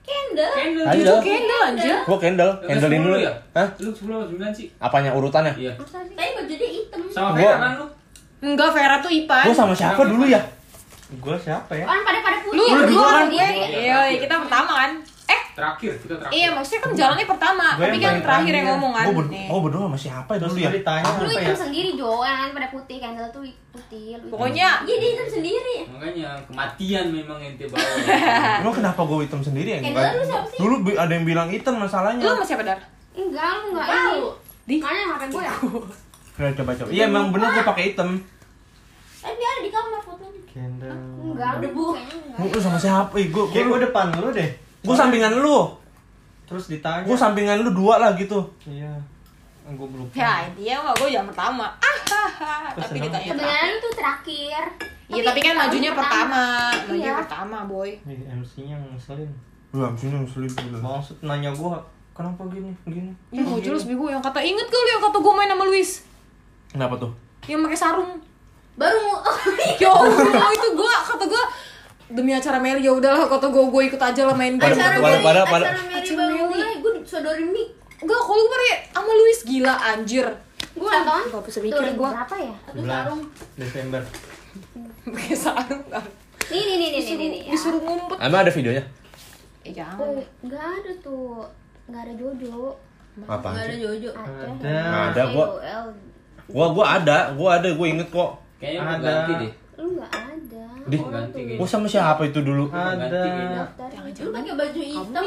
Speaker 6: Candle?
Speaker 1: Ayo.
Speaker 4: Candle
Speaker 3: Iya,
Speaker 4: anjir.
Speaker 1: Gua candle, candlein dulu.
Speaker 5: ya
Speaker 1: Hah?
Speaker 5: lu sepuluh atau sembilan sih
Speaker 1: Apanya urutannya?
Speaker 5: iya
Speaker 6: Masa sih? Tapi baju dia hitam.
Speaker 5: sama
Speaker 1: Gua-
Speaker 5: Vera kan lu
Speaker 4: Enggak, Vera tuh Ipan.
Speaker 1: Gua sama siapa dulu ya?
Speaker 2: Gue siapa ya?
Speaker 6: Orang pada pada
Speaker 4: Lu
Speaker 6: putih.
Speaker 4: berdua
Speaker 1: berdua
Speaker 4: kan
Speaker 1: kan?
Speaker 4: gue.
Speaker 5: Iya,
Speaker 4: Iya, kita pertama kan. Eh,
Speaker 5: terakhir kita terakhir
Speaker 4: iya maksudnya kan jalannya pertama,
Speaker 2: Gue
Speaker 4: tapi
Speaker 2: yang
Speaker 4: kan
Speaker 2: paling
Speaker 4: terakhir yang
Speaker 2: terakhir.
Speaker 4: ngomong kan.
Speaker 1: ya. Gua ber-
Speaker 4: Nih.
Speaker 1: gua berdua sama siapa ya
Speaker 2: Terus
Speaker 1: dulu
Speaker 2: lu
Speaker 1: ya?
Speaker 2: ditanya
Speaker 6: Lu
Speaker 2: apa ya?
Speaker 6: hitam sendiri, Jo. Orang pada putih, candle tuh putih. lu hitam.
Speaker 4: Pokoknya
Speaker 6: Iya, dia hitam sendiri.
Speaker 5: makanya kematian memang ente bawa
Speaker 1: Emang kenapa gue hitam sendiri ya?
Speaker 6: Eh,
Speaker 1: Enggak.
Speaker 6: lu siapa sih?
Speaker 1: Dulu bi- ada yang bilang hitam masalahnya.
Speaker 4: lu sama siapa dar?
Speaker 6: Enggak, lu enggak
Speaker 4: Tahu.
Speaker 6: ini.
Speaker 4: Di?
Speaker 6: Mana yang gue ya?
Speaker 1: Nah, coba coba. Iya emang bener gue pakai hitam.
Speaker 6: Tapi dia ada Eh, di kamar fotonya.
Speaker 2: Candle
Speaker 6: Enggak, debu. Kayaknya enggak.
Speaker 1: Lu, lu sama siapa? Ih, gue
Speaker 2: Kayak
Speaker 1: gue
Speaker 2: gue depan lu deh
Speaker 1: gue sampingan lu.
Speaker 2: Terus ditanya
Speaker 1: Gue sampingan lu dua lah gitu.
Speaker 2: Iya Gue belum
Speaker 4: Ya dia mah gue yang pertama. Ah, ah, ah. tapi
Speaker 2: Terus
Speaker 4: ditanya.
Speaker 6: Sebenarnya lu tuh terakhir.
Speaker 4: Iya tapi kan
Speaker 6: tahun
Speaker 4: majunya pertama, majunya
Speaker 6: Iya.
Speaker 4: pertama boy.
Speaker 2: MC-nya ngeselin
Speaker 1: Lu abis ini muslim bener.
Speaker 2: Maksud nanya gue Kenapa gini? Gini
Speaker 4: Ya mau jelas bego yang kata inget gak lu yang kata gue main sama Luis
Speaker 1: Kenapa tuh?
Speaker 4: yang pakai sarung.
Speaker 6: Baru mau
Speaker 4: Ya Allah itu gue kata gue demi acara Meli ya udahlah kata gue gue ikut aja lah main game.
Speaker 1: Acara Pada- pada- pada- pada-
Speaker 6: acara Mary baru mulai, gue disodorin mic.
Speaker 4: Enggak kalau gue pernah ya, sama Luis gila anjir.
Speaker 6: Gue nonton.
Speaker 4: Gak bisa mikir
Speaker 6: Tuh,
Speaker 4: gue
Speaker 6: Berapa ya? Satu sarung.
Speaker 2: Desember
Speaker 4: pakai sarung. nggak.
Speaker 6: Nih nih nih nih nih, nih nih.
Speaker 4: Disuruh ngumpet.
Speaker 1: Emang ada videonya?
Speaker 4: Eh jangan.
Speaker 6: Oh, Enggak ada tuh. Enggak ada Jojo.
Speaker 1: Apa?
Speaker 6: Jojo.
Speaker 2: Ada
Speaker 1: Ada gua. Gua gua ada, gua ada, gua inget kok.
Speaker 5: kayaknya
Speaker 2: Ada.
Speaker 5: gue ganti deh
Speaker 6: Lu enggak ada.
Speaker 1: Di.
Speaker 6: Orang tuh.
Speaker 5: Ganti,
Speaker 1: Gua sama siapa itu dulu?
Speaker 2: Ada
Speaker 6: Daftar. Lu pakai baju hitam.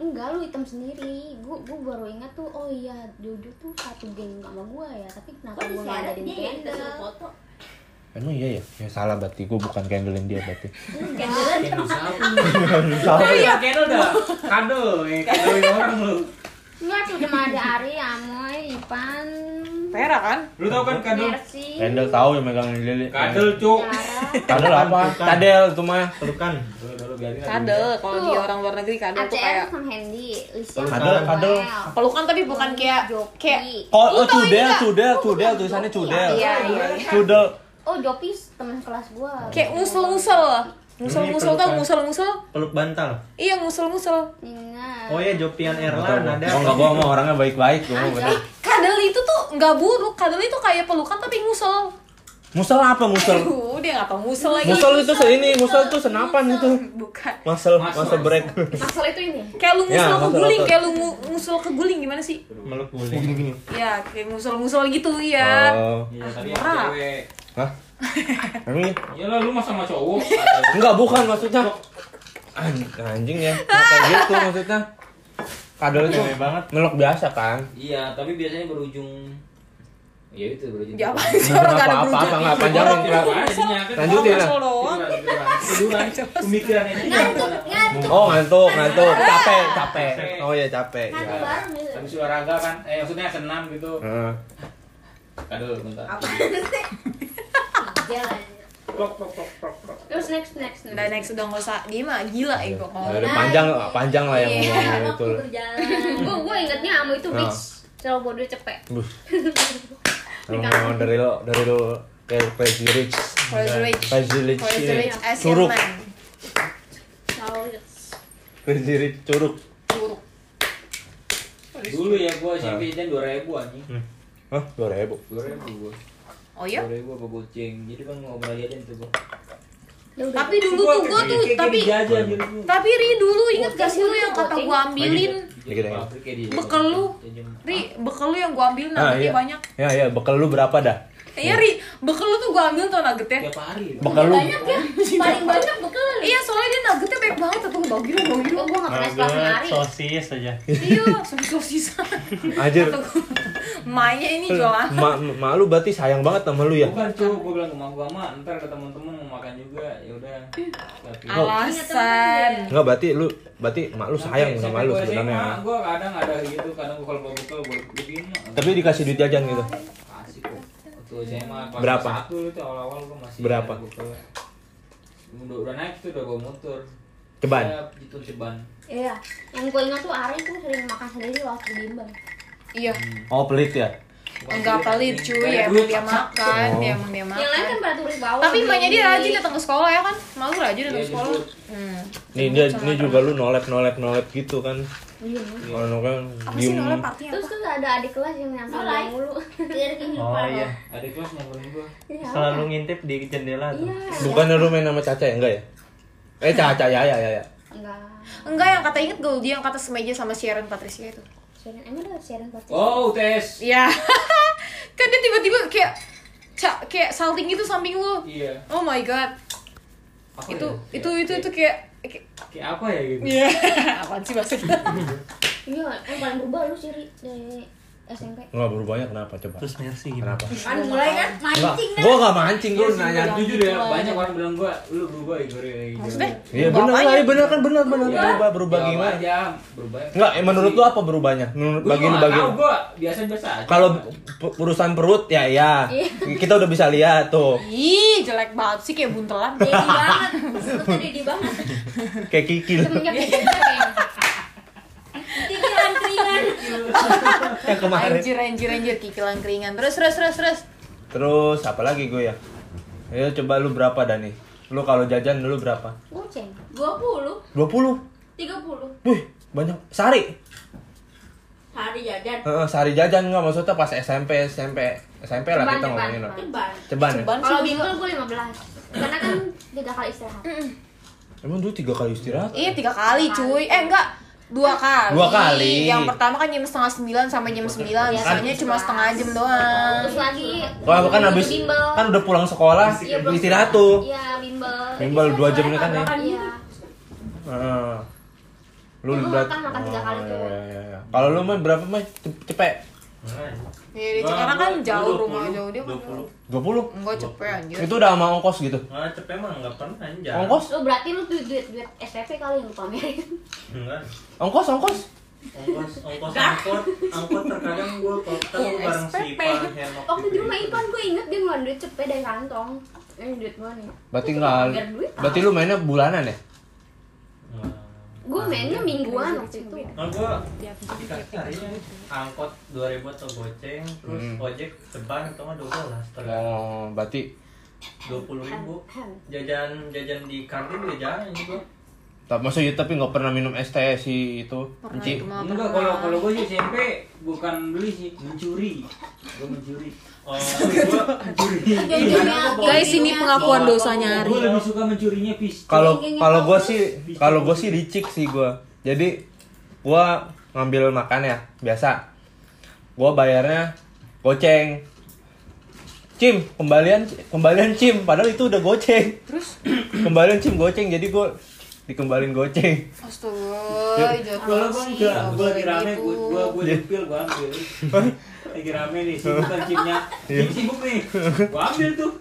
Speaker 6: Enggak, lu hitam sendiri. Gue gue baru ingat tuh, oh iya, Jojo tuh satu geng sama gue ya, tapi kenapa gue nggak ada ya? gitu? di candle?
Speaker 3: foto
Speaker 1: Emang iya ya? Ya salah berarti gua bukan candlein dia berarti.
Speaker 5: Candle siapa?
Speaker 1: Salah.
Speaker 5: Iya, candle dah Kado, eh, kadoin orang lu
Speaker 6: Enggak, tuh cuma ada Ari, Amoy, Ipan,
Speaker 4: Vera kan?
Speaker 5: Lu tau kan kadel?
Speaker 4: Iya.
Speaker 6: Mercy,
Speaker 1: Kendel tahu yang megang lili.
Speaker 5: Kadel cuk.
Speaker 6: Tiara,
Speaker 1: Kadel apa?
Speaker 2: Bukan.
Speaker 1: Kadel tuh mah.
Speaker 2: Pelukan.
Speaker 1: Iya.
Speaker 4: Kadel, kalau dia orang luar negeri kadel tuh
Speaker 6: ACM
Speaker 4: kayak
Speaker 6: sama Handy, Lisha,
Speaker 1: Kadel,
Speaker 6: Noel,
Speaker 1: kadel.
Speaker 4: pelukan tapi bukan kayak
Speaker 6: Joki.
Speaker 4: kayak
Speaker 1: Oh, oh
Speaker 4: Lu tahu
Speaker 1: cudel,
Speaker 4: nggak?
Speaker 1: cudel, cudel, tulisannya cudel.
Speaker 4: Iya, iya.
Speaker 1: Cudel.
Speaker 6: Oh, Jopi teman kelas gua.
Speaker 4: Kayak ngusel-ngusel. Ngusel-ngusel tau
Speaker 2: pelukan.
Speaker 4: ngusel-ngusel?
Speaker 2: Peluk bantal.
Speaker 4: Iya, ngusel-ngusel.
Speaker 6: Ingat.
Speaker 2: Oh ya Jopian Erlan ada.
Speaker 1: Oh, enggak gua mau orangnya baik-baik gua mau bener.
Speaker 4: Kadel itu tuh nggak buruk, kadel itu kayak pelukan tapi ngusel.
Speaker 1: Musel apa musel?
Speaker 4: Aduh, dia nggak tau ngusel lagi.
Speaker 1: Musel itu se- ini, musel itu senapan itu.
Speaker 4: Bukan.
Speaker 1: Musel, musel break.
Speaker 6: Masalah itu ini.
Speaker 4: Kayak lu
Speaker 1: Ya,
Speaker 4: ngusul ke
Speaker 1: ngusel
Speaker 4: guling,
Speaker 1: otot.
Speaker 4: kayak lu ngu- ngusul ke guling gimana sih?
Speaker 2: Meluk guling.
Speaker 4: Ya, kayak ngusul-ngusul gitu ya.
Speaker 1: Oh.
Speaker 5: Iya, tapi yang
Speaker 4: Norak.
Speaker 5: cewek.
Speaker 1: Hah? Emang iya?
Speaker 5: Ya lah lu masa sama cowok.
Speaker 1: Enggak, bukan maksudnya. An- Anjing ya. Nggak Kayak gitu maksudnya. Kadel itu
Speaker 2: Cewek banget.
Speaker 1: melok biasa kan.
Speaker 5: Iya, tapi biasanya berujung ya itu berujung.
Speaker 4: Ya apa sih orang nggak ada
Speaker 1: Apa-apa,
Speaker 4: berujung.
Speaker 1: nggak panjang,
Speaker 4: Orang
Speaker 1: nggak-
Speaker 4: berujung
Speaker 5: Apa
Speaker 4: ngusel.
Speaker 5: jadinya? Kan
Speaker 4: Orang
Speaker 1: Lanjutin,
Speaker 4: ngusel
Speaker 1: lah.
Speaker 4: doang.
Speaker 2: Tiduran. Pemikirannya itu.
Speaker 1: Oh, ngantuk, ngantuk. Capek, capek. Oh iya, capek.
Speaker 6: Kan
Speaker 1: Ya.
Speaker 6: bareng gitu.
Speaker 5: Habis olahraga kan, eh maksudnya senam gitu.
Speaker 1: Heeh.
Speaker 5: Kadel bentar.
Speaker 6: Jalan. Terus next next
Speaker 4: Udah next udah nggak usah dia mah gila eh, ego
Speaker 1: Ya,
Speaker 4: kalau.
Speaker 1: udah panjang, panjang lah
Speaker 4: Iya.
Speaker 1: yang ngomongnya itu.
Speaker 3: Waktu berjalan.
Speaker 6: Gue gue ingetnya sama itu
Speaker 1: Nah.
Speaker 6: bitch. Terlalu bodoh cepet.
Speaker 1: Buh. Ngomong dari lo, dari lo kayak Crazy Rich.
Speaker 4: Crazy Rich.
Speaker 1: Crazy Rich.
Speaker 4: Crazy
Speaker 1: ini.
Speaker 6: Iya.
Speaker 4: Rich Asian
Speaker 1: Curug.
Speaker 4: man.
Speaker 6: Terlalu
Speaker 1: Crazy Rich curug.
Speaker 4: Curug.
Speaker 5: Dulu ya gua SMP jajan 2000 anjing.
Speaker 1: Hah, 2000.
Speaker 5: 2000 gua.
Speaker 4: Oh iya?
Speaker 5: 2000 apa goceng. Jadi kan nggak pernah jajan tuh gua.
Speaker 6: Ya
Speaker 4: Tapi dulu tuh gua tuh tapi
Speaker 2: jajan dulu.
Speaker 4: tapi Ri dulu inget gak sih lu yang kata gua ambilin
Speaker 1: Dikit aja.
Speaker 5: Pabrik ya dia.
Speaker 4: Bekal lu.
Speaker 5: Jajan.
Speaker 4: Ri, bekal lu yang gua ambilin
Speaker 1: Ah,
Speaker 4: nuggetnya
Speaker 1: iya.
Speaker 4: banyak.
Speaker 1: Ya, ya, bekal lu berapa dah?
Speaker 4: Iya Ri, bekal lu tuh gua ambil tuh nuggetnya.
Speaker 1: Iya.
Speaker 5: Tiap hari. Bang.
Speaker 1: Bekal lu.
Speaker 4: ya.
Speaker 3: Paling banyak bekal.
Speaker 4: Iya, soalnya dia nuggetnya banyak banget tuh gua bagi lu, bagi lu.
Speaker 6: Oh, gue gak pernah sekolah
Speaker 2: Nugget,
Speaker 6: sehari.
Speaker 2: sosis aja.
Speaker 4: Iya, sosis-sosisan.
Speaker 1: Anjir.
Speaker 4: Mainnya ini
Speaker 1: Iya.
Speaker 4: jualan.
Speaker 1: Ma, ma lu berarti sayang banget sama lu ya?
Speaker 5: Bukan tuh, gua bilang ke mak gua, "Ma, ntar ke teman-teman mau makan juga." Ya udah. Tapi
Speaker 1: ya.
Speaker 4: Alasan.
Speaker 1: Enggak, berarti lu berarti mak Oh, lu sayang
Speaker 5: Sampai-
Speaker 1: sama
Speaker 5: sampai
Speaker 1: lu
Speaker 5: gua SMA,
Speaker 1: sebenarnya.
Speaker 5: Gua kadang ada gitu, kadang gua kalau mau bekal gua bikin.
Speaker 1: Tapi dikasih duit jajan gitu.
Speaker 5: Kasih kok. Waktu SMA kelas
Speaker 1: Berapa?
Speaker 5: Satu itu awal-awal gua masih
Speaker 1: Berapa?
Speaker 5: ada bekal. Udah, udah naik tuh udah bawa motor.
Speaker 1: Ceban?
Speaker 5: Saya Itu gitu, ceban.
Speaker 6: Iya. Yang gue ingat tuh Ari tuh sering makan sendiri waktu bimbel.
Speaker 4: Iya.
Speaker 1: Oh, pelit ya?
Speaker 5: Bukan
Speaker 4: Enggak
Speaker 5: duit,
Speaker 4: pelit
Speaker 5: anjing.
Speaker 4: cuy,
Speaker 5: Kayak
Speaker 4: ya
Speaker 5: duit,
Speaker 4: emang dia
Speaker 5: paksa.
Speaker 4: makan,
Speaker 1: Oh.
Speaker 4: ya emang dia
Speaker 6: Yang lain Iya. kan
Speaker 4: makan.
Speaker 6: pada tulis bawah.
Speaker 4: Tapi emaknya dia
Speaker 6: beli.
Speaker 4: rajin datang ke sekolah ya kan? Malu rajin datang
Speaker 5: Iya,
Speaker 4: ke sekolah.
Speaker 5: jemput.
Speaker 4: Hmm.
Speaker 1: Nih dia ini juga lu nolep nolep nolep gitu kan.
Speaker 6: Iya.
Speaker 1: Kalau kan
Speaker 4: Apa sih
Speaker 1: diem.
Speaker 4: nolnya partinya
Speaker 6: Terus
Speaker 4: apa?
Speaker 6: tuh ada adik kelas yang nyamperin
Speaker 3: Mulai.
Speaker 6: gua mulu.
Speaker 3: Dari kehidupan.
Speaker 2: Oh
Speaker 3: lo.
Speaker 2: iya.
Speaker 5: Ada kelas nyamperin gua.
Speaker 6: Iya.
Speaker 2: Selalu ngintip di jendela tuh.
Speaker 4: Iya.
Speaker 1: Bukannya lu main sama Caca ya? Enggak ya? Eh Caca ya ya ya ya.
Speaker 6: Enggak.
Speaker 4: Enggak yang kata inget gue dia yang kata semeja sama Sharon Patricia itu.
Speaker 6: Sharon, emang ada Sharon Patricia?
Speaker 5: Oh, UTS.
Speaker 4: Iya. kan dia tiba-tiba kayak ca- kayak salting gitu samping lu.
Speaker 5: Iya.
Speaker 4: Oh my god.
Speaker 5: Apa
Speaker 1: Oh
Speaker 4: Itu
Speaker 1: iya,
Speaker 5: ya?
Speaker 4: itu
Speaker 5: Kayak-
Speaker 4: itu itu kayak kayak-
Speaker 5: kayak apa ya gitu.
Speaker 4: Iya. Apaan sih maksudnya?
Speaker 6: Iya, yang paling berubah lu sih Ri, dari SMP.
Speaker 1: Enggak berubahnya kenapa coba?
Speaker 2: Terus Mercy gimana?
Speaker 1: Kenapa?
Speaker 3: Kan mulai kan
Speaker 1: Enggak,
Speaker 3: mancing kan.
Speaker 1: gua enggak mancing lu nanya.
Speaker 5: Jujur ya, banyak orang bilang gua lu berubah ya gue gitu.
Speaker 4: gitu Maksudnya?
Speaker 1: Iya
Speaker 4: Berubah
Speaker 1: benar
Speaker 4: apanya?
Speaker 1: lah, iya benar kan benar benar berubah berubah
Speaker 5: Jawab
Speaker 1: gimana?
Speaker 5: Aja, berubah.
Speaker 1: Enggak, eh, menurut lu apa berubahnya? Menurut
Speaker 5: Gua
Speaker 1: bagi lu
Speaker 5: juga
Speaker 1: bagi lu.
Speaker 5: nggak tahu, gua biasa-biasa aja.
Speaker 1: Kalau pu- urusan perut ya ya.
Speaker 5: Iya.
Speaker 1: Kita udah bisa lihat tuh.
Speaker 4: Ih, jelek banget sih kayak buntelan.
Speaker 3: Dedi banget. Sebutnya Dedi banget.
Speaker 1: Kayak Kiki lu.
Speaker 6: Semenjak SMP kayaknya.
Speaker 3: Pikiran keringan.
Speaker 1: yang kemarin.
Speaker 4: Anjir, anjir, anjir, kikilan keringan. Terus, terus, terus, terus.
Speaker 1: Terus apa lagi gue ya? Ayo coba lu berapa dah nih? Lu kalau jajan lu berapa?
Speaker 6: Goceng.
Speaker 1: 20.
Speaker 3: 20, 30
Speaker 1: Wih, banyak. Sari.
Speaker 3: hari jajan.
Speaker 1: Heeh, sehari jajan nggak maksudnya pas SMP SMP SMP lah
Speaker 6: Ceban,
Speaker 1: kita
Speaker 6: ceban,
Speaker 1: ngomongin lah.
Speaker 3: Ceban.
Speaker 1: Ceban. ya?
Speaker 4: Ceban sih
Speaker 6: Kalau
Speaker 4: gua.
Speaker 7: gitu
Speaker 6: bimbel gue 15. Karena kan tiga kali istirahat.
Speaker 1: Emang dulu tiga kali istirahat?
Speaker 4: Iya, tiga kali cuy. Eh, enggak. Dua kali.
Speaker 1: Dua kali.
Speaker 4: Yang pertama kan jam setengah sembilan sampai jam sembilan. Biasanya cuma setengah jam doang.
Speaker 6: Terus lagi
Speaker 1: Kalau kan
Speaker 6: habis
Speaker 1: habis
Speaker 6: Iya, bimbel.
Speaker 1: kan udah pulang sekolah
Speaker 6: Iya, pulang
Speaker 1: istirahat tuh.
Speaker 6: Iya, bimbel.
Speaker 1: Bimbel dua jam kan ya.
Speaker 6: Iya.
Speaker 1: Heeh. Lu
Speaker 6: Emang
Speaker 1: berat.
Speaker 6: makan- makan tiga kali
Speaker 1: Oh,
Speaker 6: tuh.
Speaker 1: iya, iya, iya. Kalau lu mah berapa mah? Cep- Cepet.
Speaker 4: Iya, di Cikarang kan jauh rumah jauh dia. kan.
Speaker 2: 20.
Speaker 1: 20.
Speaker 4: Enggak cepet anjir.
Speaker 1: Itu udah sama ongkos gitu.
Speaker 2: Nah, cepet emang enggak pernah
Speaker 6: Iya.
Speaker 2: anjir.
Speaker 1: Ongkos?
Speaker 6: Lu berarti lu duit duit, duit SPP kali yang lu pamerin.
Speaker 2: Enggak.
Speaker 1: Ongkos, ongkos.
Speaker 2: ongkos ongkos angkot angkot terkadang gue
Speaker 4: Iya,
Speaker 2: kan gue bareng si Ipan Hermok
Speaker 6: Waktu
Speaker 2: di
Speaker 6: di rumah
Speaker 2: Pringles.
Speaker 6: Ipan gue inget dia ngeluarin duit cepet dari kantong. Ini duit gue nih.
Speaker 1: Berarti
Speaker 6: Terus
Speaker 1: nggak,
Speaker 6: biar duit,
Speaker 1: berarti lu mainnya bulanan ya?
Speaker 2: Nah.
Speaker 4: Ah,
Speaker 6: Gue
Speaker 4: iya,
Speaker 6: mainnya mingguan waktu itu.
Speaker 2: Nah, gue harinya angkot 2000 atau goceng, terus
Speaker 1: Hmm.
Speaker 2: ojek seban atau nggak 12 tergantung
Speaker 1: Oh, berarti
Speaker 2: 20 ribu jajan jajan di ya, kantin juga jarang juga
Speaker 1: tak maksudnya iya, tapi nggak pernah minum es teh si itu.
Speaker 4: Pernah
Speaker 1: Ci.
Speaker 4: itu mah
Speaker 5: Enggak,
Speaker 4: pernah.
Speaker 5: kalau kalau gue sih SMP bukan beli sih, mencuri. Gue mencuri.
Speaker 2: oh, gua,
Speaker 4: Iya, Guys, ini pengakuan dosanya
Speaker 5: Gue
Speaker 4: Ari.
Speaker 5: lebih suka mencurinya pis.
Speaker 1: Kalau kalau gue sih kalau gue sih licik sih gue. Jadi gue ngambil makan ya biasa. Gue bayarnya goceng. Cim, kembalian kembalian cim. Padahal itu udah goceng. Terus kembalian cim goceng. Jadi gue dikembalin goceng.
Speaker 4: Astaga,
Speaker 5: Ya, Kalau
Speaker 4: jatuh
Speaker 5: gue
Speaker 4: sih.
Speaker 5: enggak,
Speaker 4: nggak
Speaker 5: gue lagi
Speaker 4: boleh
Speaker 5: rame,
Speaker 4: gitu.
Speaker 5: gue gue
Speaker 2: Iya.
Speaker 5: gue dipil, gue ambil. Lagi rame nih, sibuk kan cimnya,
Speaker 2: Iya.
Speaker 5: cim sibuk nih, gue ambil tuh.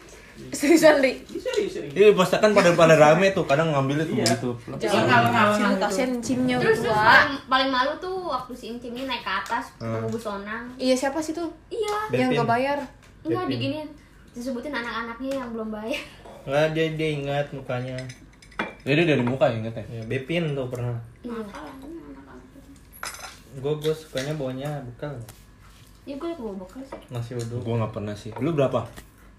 Speaker 4: Seriusan, Ri.
Speaker 5: Serius, serius.
Speaker 1: Iya, pasti kan pada pada rame tuh. Kadang ngambilnya tuh
Speaker 5: Iya.
Speaker 1: gitu.
Speaker 5: Jangan ngalah ngalah.
Speaker 4: Si Kasihan cimnya
Speaker 6: Terus terus paling, paling malu tuh waktu si Incim ini naik ke atas ketemu Bu Sonang.
Speaker 4: Ah. Iya, siapa sih tuh?
Speaker 6: Iya,
Speaker 1: Betin.
Speaker 4: Yang nggak bayar.
Speaker 6: enggak
Speaker 1: Dating.
Speaker 6: diginiin. Disebutin anak-anaknya yang belum bayar.
Speaker 2: nggak dia dia ingat mukanya
Speaker 1: Jadi dari muka inget ya.
Speaker 2: ya, Bepin tuh pernah
Speaker 4: Iya.
Speaker 2: gue gue sukanya bawanya bekal
Speaker 6: Ya gue bawa bekal sih.
Speaker 2: nasi uduk
Speaker 1: Gue nggak pernah sih. Lu berapa?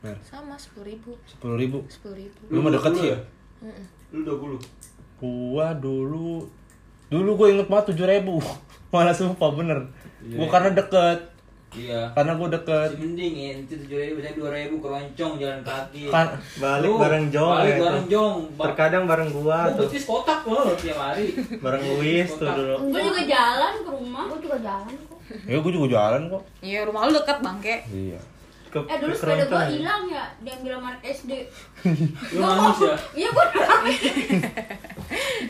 Speaker 1: Mer,
Speaker 4: Sama sepuluh ribu.
Speaker 1: sepuluh ribu.
Speaker 4: Sepuluh ribu.
Speaker 1: Lu mah deket sih ya?
Speaker 5: Lu 20.
Speaker 1: gua dulu dulu gue inget banget tujuh ribu malah sumpah bener gua karena deket
Speaker 5: Iya.
Speaker 1: karena gue deket
Speaker 5: Si mending ya, itu tujuh ribu, saya dua ribu keroncong jalan kaki.
Speaker 1: Kan-
Speaker 2: balik
Speaker 5: Lu,
Speaker 2: bareng Jong ya
Speaker 5: Balik
Speaker 2: itu.
Speaker 5: bareng jong. Ba-
Speaker 2: terkadang bareng
Speaker 5: Lu
Speaker 2: gua Iya, tuh
Speaker 5: putus kotak lo tiap hari.
Speaker 2: bareng Luis tuh dulu
Speaker 6: Gue juga jalan ke rumah. Gue juga jalan kok.
Speaker 1: ya gue juga jalan kok
Speaker 4: Iya, rumah lu deket bangke.
Speaker 1: iya
Speaker 2: ke
Speaker 7: Eh dulu
Speaker 2: ke
Speaker 7: sepeda
Speaker 2: keroncong
Speaker 7: gue
Speaker 2: ya?
Speaker 7: hilang ya, diambil sama anak SD
Speaker 5: Lu nangis ya.
Speaker 7: Iya gue nangis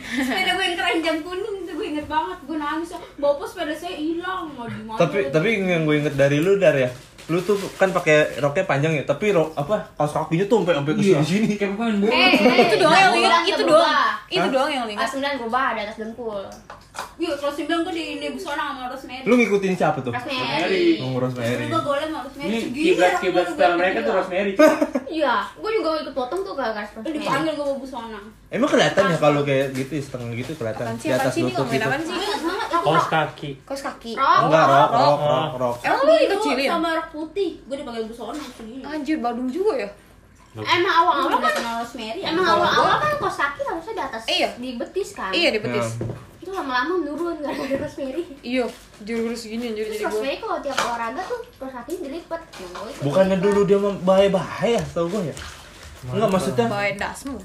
Speaker 7: Sepeda gue yang keren jam kuning itu gue inget banget Gue nangis, ya. bapak sepeda saya hilang mau
Speaker 4: Oh,
Speaker 7: di mana
Speaker 1: tapi tapi yang gue inget dari lu dar ya lu tuh kan pakai roknya panjang ya tapi rok apa kaos kakinya tuh sampai sampai ke sini sini
Speaker 5: Iya. Kayak pemain bola.
Speaker 4: Eh,
Speaker 6: Eh,
Speaker 4: Itu doang yang lu ingat, itu doang. Itu doang yang lu
Speaker 6: Kelas
Speaker 4: ingat.
Speaker 6: 9 berubah ada atas dengkul.
Speaker 7: Yuk, kelas 9 gue di ini busona sama Rosemary
Speaker 1: lu ngikutin siapa tuh
Speaker 6: Rosemary.
Speaker 5: Rosemary.
Speaker 1: ngurus
Speaker 7: Dulu
Speaker 1: Mary
Speaker 7: gue golem sama Rosemary
Speaker 5: Ini
Speaker 7: Segini
Speaker 5: kiblat
Speaker 7: rambut
Speaker 5: kiblat
Speaker 7: gue
Speaker 5: style
Speaker 7: gede
Speaker 5: mereka tuh
Speaker 7: gila.
Speaker 5: Rosemary.
Speaker 6: Iya, gue juga ikut potong tuh ke garis Rosemary.
Speaker 7: Dipanggil gue bawa busona
Speaker 1: emang kelihatan ya kalau kayak gitu setengah gitu kelihatan
Speaker 4: Apaan sih?
Speaker 1: di
Speaker 4: Apaan
Speaker 1: atas
Speaker 4: sih? Ini
Speaker 1: lutut
Speaker 4: ngomongin
Speaker 1: gitu
Speaker 4: apaan sih?
Speaker 7: Gue inget banget aku
Speaker 2: kaos
Speaker 7: rok
Speaker 2: kaki
Speaker 4: Kos kaki.
Speaker 6: Rok.
Speaker 1: enggak rok rok rok rok
Speaker 4: Emang lu
Speaker 7: Dulu
Speaker 4: dikecilin?
Speaker 7: sama rok putih, gue dipanggil busona segini
Speaker 4: Anjir, badung juga ya.
Speaker 6: Emang
Speaker 7: Awal kan
Speaker 6: awal-awal kan
Speaker 7: sama Rosemary ya
Speaker 6: Emang awal-awal kan kos kaki harusnya di atas,
Speaker 4: Iya.
Speaker 6: di betis kan?
Speaker 4: Iya, di betis.
Speaker 5: Nah.
Speaker 1: Ya,
Speaker 6: Itu lama-lama menurun gara-gara Rosemary.
Speaker 4: Iya, juru segini anjir
Speaker 6: Terus
Speaker 4: jadi gue.
Speaker 6: Rosemary kalau tiap olahraga tuh kos kakinya dilipet. Ya, gua ikut
Speaker 1: bukannya
Speaker 6: dilipet.
Speaker 1: dulu dia bahaya-bahaya tau gue ya enggak maksudnya
Speaker 4: Bawain dasmu.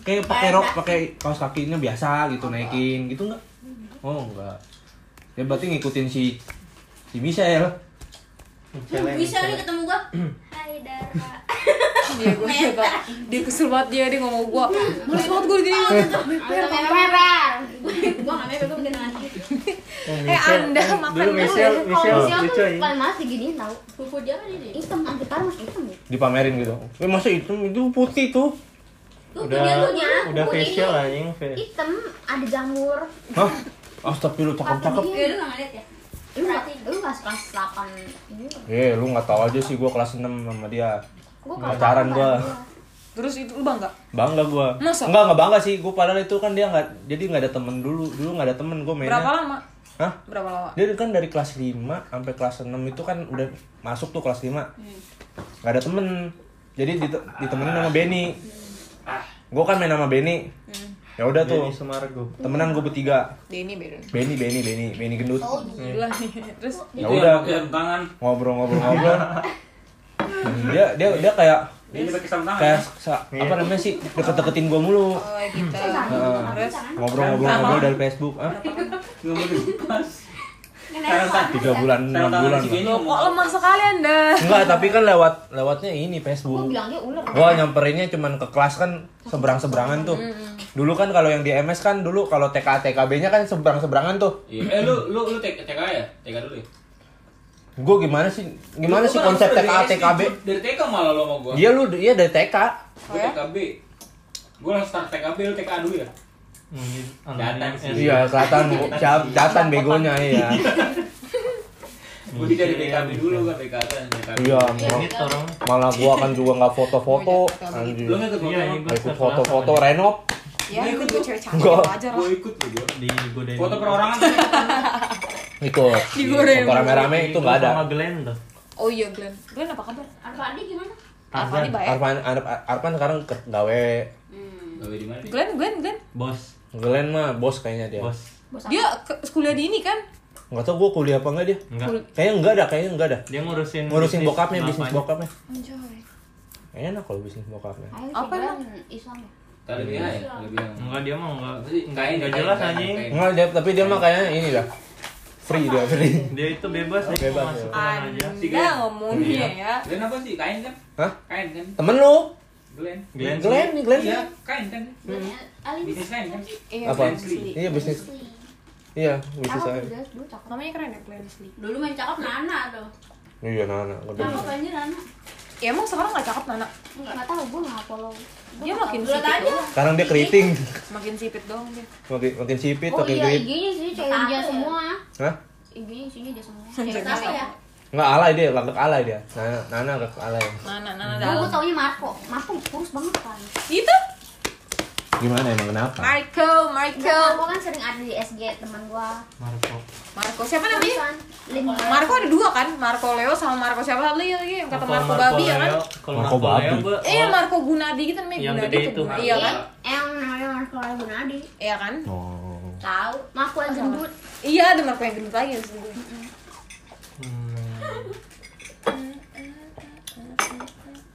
Speaker 1: kayak pakai rok pakai kaos kakinya biasa gitu naikin gitu nggak oh enggak ya berarti ngikutin si si Michelle
Speaker 7: Bisa nih ketemu gue
Speaker 6: Hai Dara.
Speaker 4: Iya, gue coba. Dia kesel banget dia, dia ngomong gue. Males banget gue gini.
Speaker 6: Memer.
Speaker 7: Gue gak mepet, gue mending nanti
Speaker 4: Eh, Anda makan
Speaker 2: dulu Michelle
Speaker 4: dulu.
Speaker 2: Michelle
Speaker 6: Kalau
Speaker 2: lucu
Speaker 6: tuh
Speaker 2: ya
Speaker 1: iya.
Speaker 6: paling males diginiin tau.
Speaker 7: Kuku dia kan ini
Speaker 6: Hitam, anti parmas hitam ya.
Speaker 1: dipamerin gitu eh masa itu itu putih tuh
Speaker 2: udah
Speaker 6: punya,
Speaker 2: udah
Speaker 6: punya
Speaker 2: facial
Speaker 6: ini.
Speaker 2: anjing
Speaker 1: Iya.
Speaker 2: face
Speaker 6: Hitam, ada jamur.
Speaker 1: hah astagfirullah cakep-cakep
Speaker 7: Ya lu gak ngeliat ya?
Speaker 6: Lu nggak lu nggak suka selapan ini?
Speaker 1: eh lu nggak tahu aja sih gua kelas 6 sama dia
Speaker 6: Gua kalau
Speaker 1: pacaran
Speaker 6: tahu,
Speaker 1: gua
Speaker 6: baru-
Speaker 4: Terus itu lu bangga.
Speaker 1: bangga gua
Speaker 4: Masa?
Speaker 1: enggak enggak bangga sih gua padahal itu kan dia nggak jadi nggak ada temen dulu dulu nggak ada temen gua mainnya
Speaker 4: Berapa lama?
Speaker 1: hah
Speaker 4: Berapa lama?
Speaker 1: dia kan dari kelas 5 sampai kelas 6 itu kan udah masuk tuh kelas 5 nggak ada temen jadi dite- ditemenin sama Benny gue kan main sama Benny ya udah tuh
Speaker 2: Benny Sumargo
Speaker 1: temenan gue bertiga
Speaker 4: Dia ini beda.
Speaker 1: Benny Benny Benny Benny gendut
Speaker 4: Gila nih. Terus
Speaker 5: Itu
Speaker 1: Oh, gitu Ya udah.
Speaker 5: yang pakai jam tangan.
Speaker 1: ngobrol-ngobrol-ngobrol Hmm, dia dia dia kayak
Speaker 5: Ini pakai jam tangan.
Speaker 1: kayak sa- apa namanya sih deket-deketin gue mulu
Speaker 4: oh, gitu.
Speaker 1: Heeh.
Speaker 4: Terus
Speaker 1: ngobrol-ngobrol-ngobrol dari Facebook ah. Hah?
Speaker 5: Nggak mau dilepas. Sarang
Speaker 1: tiga bulan enam
Speaker 5: tangan
Speaker 1: bulan
Speaker 5: si
Speaker 1: lah.
Speaker 5: Benny
Speaker 4: Loh, kok
Speaker 5: ngomong.
Speaker 4: lemah sekali Anda?
Speaker 1: enggak tapi kan lewat lewatnya ini
Speaker 6: Gua
Speaker 1: Facebook
Speaker 6: bilang dia ular.
Speaker 1: Gua nyamperinnya cuman ke kelas kan seberang-seberangan tuh. Dulu kan kalau yang di MS kan dulu kalau TK TKB-nya kan seberang-seberangan tuh.
Speaker 5: Iya. Eh lu lu lu TK TK ya? TK dulu ya?
Speaker 1: Gua gimana sih? Gimana
Speaker 5: Lu
Speaker 1: sih
Speaker 5: kan
Speaker 1: konsep
Speaker 5: dari
Speaker 1: TK
Speaker 5: SD,
Speaker 1: TKB?
Speaker 5: Dari TK malah lo sama gua.
Speaker 1: Iya lu iya dari TK.
Speaker 4: Oh, ya?
Speaker 5: Gue TKB. Gue langsung start TKB, lu TKA dulu ya?
Speaker 2: Mungkin
Speaker 5: Datang sih.
Speaker 2: anaknya-
Speaker 1: Iya, kelihatan ca- catatan begonya iya.
Speaker 5: Gue dari BKB dulu kan BKB. BKB.
Speaker 1: Iya,
Speaker 2: Ini
Speaker 1: mal-
Speaker 2: orang.
Speaker 1: malah gua kan juga nggak foto-foto.
Speaker 5: Lo
Speaker 1: Anjir.
Speaker 5: nggak tuh
Speaker 2: Iya,
Speaker 5: foto?
Speaker 2: ini
Speaker 1: Ikut
Speaker 2: gua setelah
Speaker 1: foto-foto
Speaker 2: sama
Speaker 1: renov.
Speaker 4: Ya, itu
Speaker 5: Gua ikut
Speaker 4: gue
Speaker 5: tuh.
Speaker 4: cewek cantik
Speaker 1: Enggak.
Speaker 4: wajar
Speaker 5: Gue
Speaker 4: lah.
Speaker 5: ikut tuh gue.
Speaker 1: Iya.
Speaker 2: dia. Di godain.
Speaker 5: Foto perorangan tuh.
Speaker 1: Ikut.
Speaker 4: Digoreng.
Speaker 1: Foto rame-rame itu nggak ada.
Speaker 2: Sama Glenn tuh.
Speaker 4: Oh iya Glenn, Glenn apa kabar?
Speaker 7: Arfa Adi gimana?
Speaker 4: Apa
Speaker 2: Tarzan.
Speaker 4: nih baik?
Speaker 1: Arfan, Arfan, Arfan sekarang ke- gawe
Speaker 7: Hmm.
Speaker 5: Gawe di mana?
Speaker 4: Glenn, Glenn, Glenn.
Speaker 2: Bos.
Speaker 1: Glenn mah bos kayaknya dia.
Speaker 2: Bos.
Speaker 4: Dia ke- kuliah di ini kan?
Speaker 1: Nggak tau gua kuliah apa enggak dia.
Speaker 2: Enggak.
Speaker 4: Kul-
Speaker 1: Kayaknya enggak ada, kayaknya enggak ada.
Speaker 2: Dia ngurusin
Speaker 1: Ngurusin
Speaker 2: bisnis
Speaker 1: bokapnya, bisnis
Speaker 2: bapaknya.
Speaker 1: bokapnya.
Speaker 4: Anjay.
Speaker 1: Enak kalau bisnis bokapnya.
Speaker 6: Ayo
Speaker 4: Apa
Speaker 6: sih,
Speaker 4: emang?
Speaker 6: Glenn, Islam ya?
Speaker 5: Tadi lebih high, lebih high.
Speaker 2: Enggak dia mah enggak.
Speaker 5: Maksudnya,
Speaker 2: Enggak
Speaker 5: kain,
Speaker 2: enggak
Speaker 5: kain,
Speaker 2: jelas
Speaker 5: kain,
Speaker 2: anjing.
Speaker 5: kain.
Speaker 1: Enggak, dia- tapi dia mah kayaknya ini dah. Free dia, free.
Speaker 2: Dia itu bebas dia
Speaker 1: Bebas,
Speaker 2: mau masuk
Speaker 1: ya. Iya.
Speaker 2: kemana aja.
Speaker 5: Si
Speaker 4: Anda
Speaker 5: Glenn.
Speaker 4: ngomongnya ya.
Speaker 5: Glenn apa sih? Kain kan?
Speaker 1: Hah?
Speaker 5: Kain kan?
Speaker 1: Temen lu?
Speaker 5: Glenn.
Speaker 2: Glenn.
Speaker 1: Glenn nih, Glenn.
Speaker 5: Iya, kain kan?
Speaker 3: Alin
Speaker 5: Bisnis kain kan?
Speaker 4: Iya,
Speaker 1: Apa?
Speaker 4: Glenn Sli.
Speaker 1: Iya, bisnis. Iya, bisnis
Speaker 6: Cakep,
Speaker 1: saya.
Speaker 6: guys, dulu cakep.
Speaker 4: Namanya keren ya Glenn Sli.
Speaker 7: Dulu main cakep Nana tuh.
Speaker 1: Iya, Nana. gede.
Speaker 7: Cakep aja Nana.
Speaker 4: Ya emang sekarang gak cakep Nana?
Speaker 6: Nggak tahu, gua nggak follow. Gua
Speaker 4: Dia
Speaker 6: nggak
Speaker 4: makin
Speaker 6: tahu.
Speaker 7: Lihat
Speaker 4: sipit
Speaker 7: aja.
Speaker 4: doang.
Speaker 1: Sekarang dia keriting.
Speaker 4: Makin sipit doang dia.
Speaker 1: Makin makin sipit,
Speaker 6: Oh
Speaker 1: makin
Speaker 6: iya,
Speaker 1: duit.
Speaker 6: IG-nya sih cewek
Speaker 7: Takut
Speaker 6: dia
Speaker 7: ya.
Speaker 6: semua.
Speaker 1: Hah?
Speaker 6: IG-nya isinya dia semua.
Speaker 4: Cewek
Speaker 6: Cewek
Speaker 7: Siapa ya?
Speaker 1: Enggak alay dia, lagak alay dia. Nana, Nana agak alay.
Speaker 4: Nana, Nana
Speaker 6: Gue
Speaker 4: dalam.
Speaker 6: taunya Marco. Marco kurus banget kan.
Speaker 4: Itu.
Speaker 1: Gimana emang kenapa?
Speaker 4: Marco, Marco.
Speaker 6: Marco kan sering ada di SG teman gua.
Speaker 2: Marco.
Speaker 4: Marco siapa namanya?
Speaker 6: Kan, Lin
Speaker 4: Marco ada dua kan? Marco Leo sama Marco siapa satu lagi lagi yang kata
Speaker 2: Kalau
Speaker 4: Marco, Babi ya kan?
Speaker 2: Leo- Kalau
Speaker 1: Marco
Speaker 2: Marco Babi.
Speaker 1: Babi.
Speaker 4: Eh Marco Gunadi gitu namanya
Speaker 2: Yang
Speaker 4: Gunadi
Speaker 2: gede
Speaker 4: tuh,
Speaker 2: itu,
Speaker 4: Gunadi,
Speaker 2: Marco.
Speaker 4: iya kan?
Speaker 6: Yang namanya Marco Gunadi.
Speaker 4: Iya kan?
Speaker 1: Oh.
Speaker 6: Tahu, Marco yang gendut.
Speaker 4: Iya ada Marco yang gendut lagi abis itu.
Speaker 1: Hmm.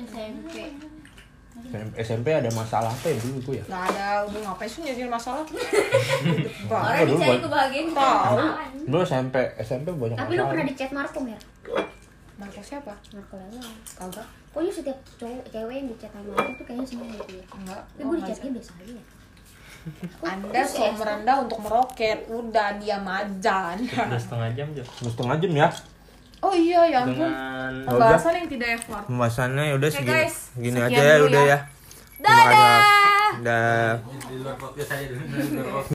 Speaker 6: SMP.
Speaker 1: SMP- SMP ada masalah apa ya dulu gua ya?
Speaker 4: Nggak ada, udah ngapain sih jadi masalah? Wah,
Speaker 7: Orang
Speaker 1: dulu
Speaker 7: dicari
Speaker 1: buat-
Speaker 7: kebahagiaan bukan
Speaker 4: Tahu.
Speaker 7: kesalahan.
Speaker 1: Dulu SMP, SMP banyak
Speaker 6: Tapi lu
Speaker 1: masalah.
Speaker 6: pernah di chat Marco ya?
Speaker 4: Marco siapa?
Speaker 6: Marco Leon.
Speaker 4: Kagak,
Speaker 6: Pokoknya setiap cowok cewek yang di chat sama aku tuh kayaknya semua gitu ya.
Speaker 4: enggak.
Speaker 6: Tapi gue di chatnya biasa aja ya.
Speaker 4: Anda seumur Anda untuk meroket, udah diam aja. Anda.
Speaker 2: Udah setengah jam, Jo.
Speaker 1: Udah setengah jam ya.
Speaker 4: Oh iya, ya ampun.
Speaker 2: Dengan
Speaker 4: Pembahasan yang tidak effort.
Speaker 1: Pembahasannya udah
Speaker 4: Oke,
Speaker 1: segini.
Speaker 4: guys.
Speaker 1: Gini
Speaker 4: Sekian
Speaker 1: aja ya
Speaker 4: dulu
Speaker 1: udah
Speaker 4: ya.
Speaker 1: ya. Dadah. Dadah.
Speaker 5: Di luar podcast aja dulu. Di luar podcast.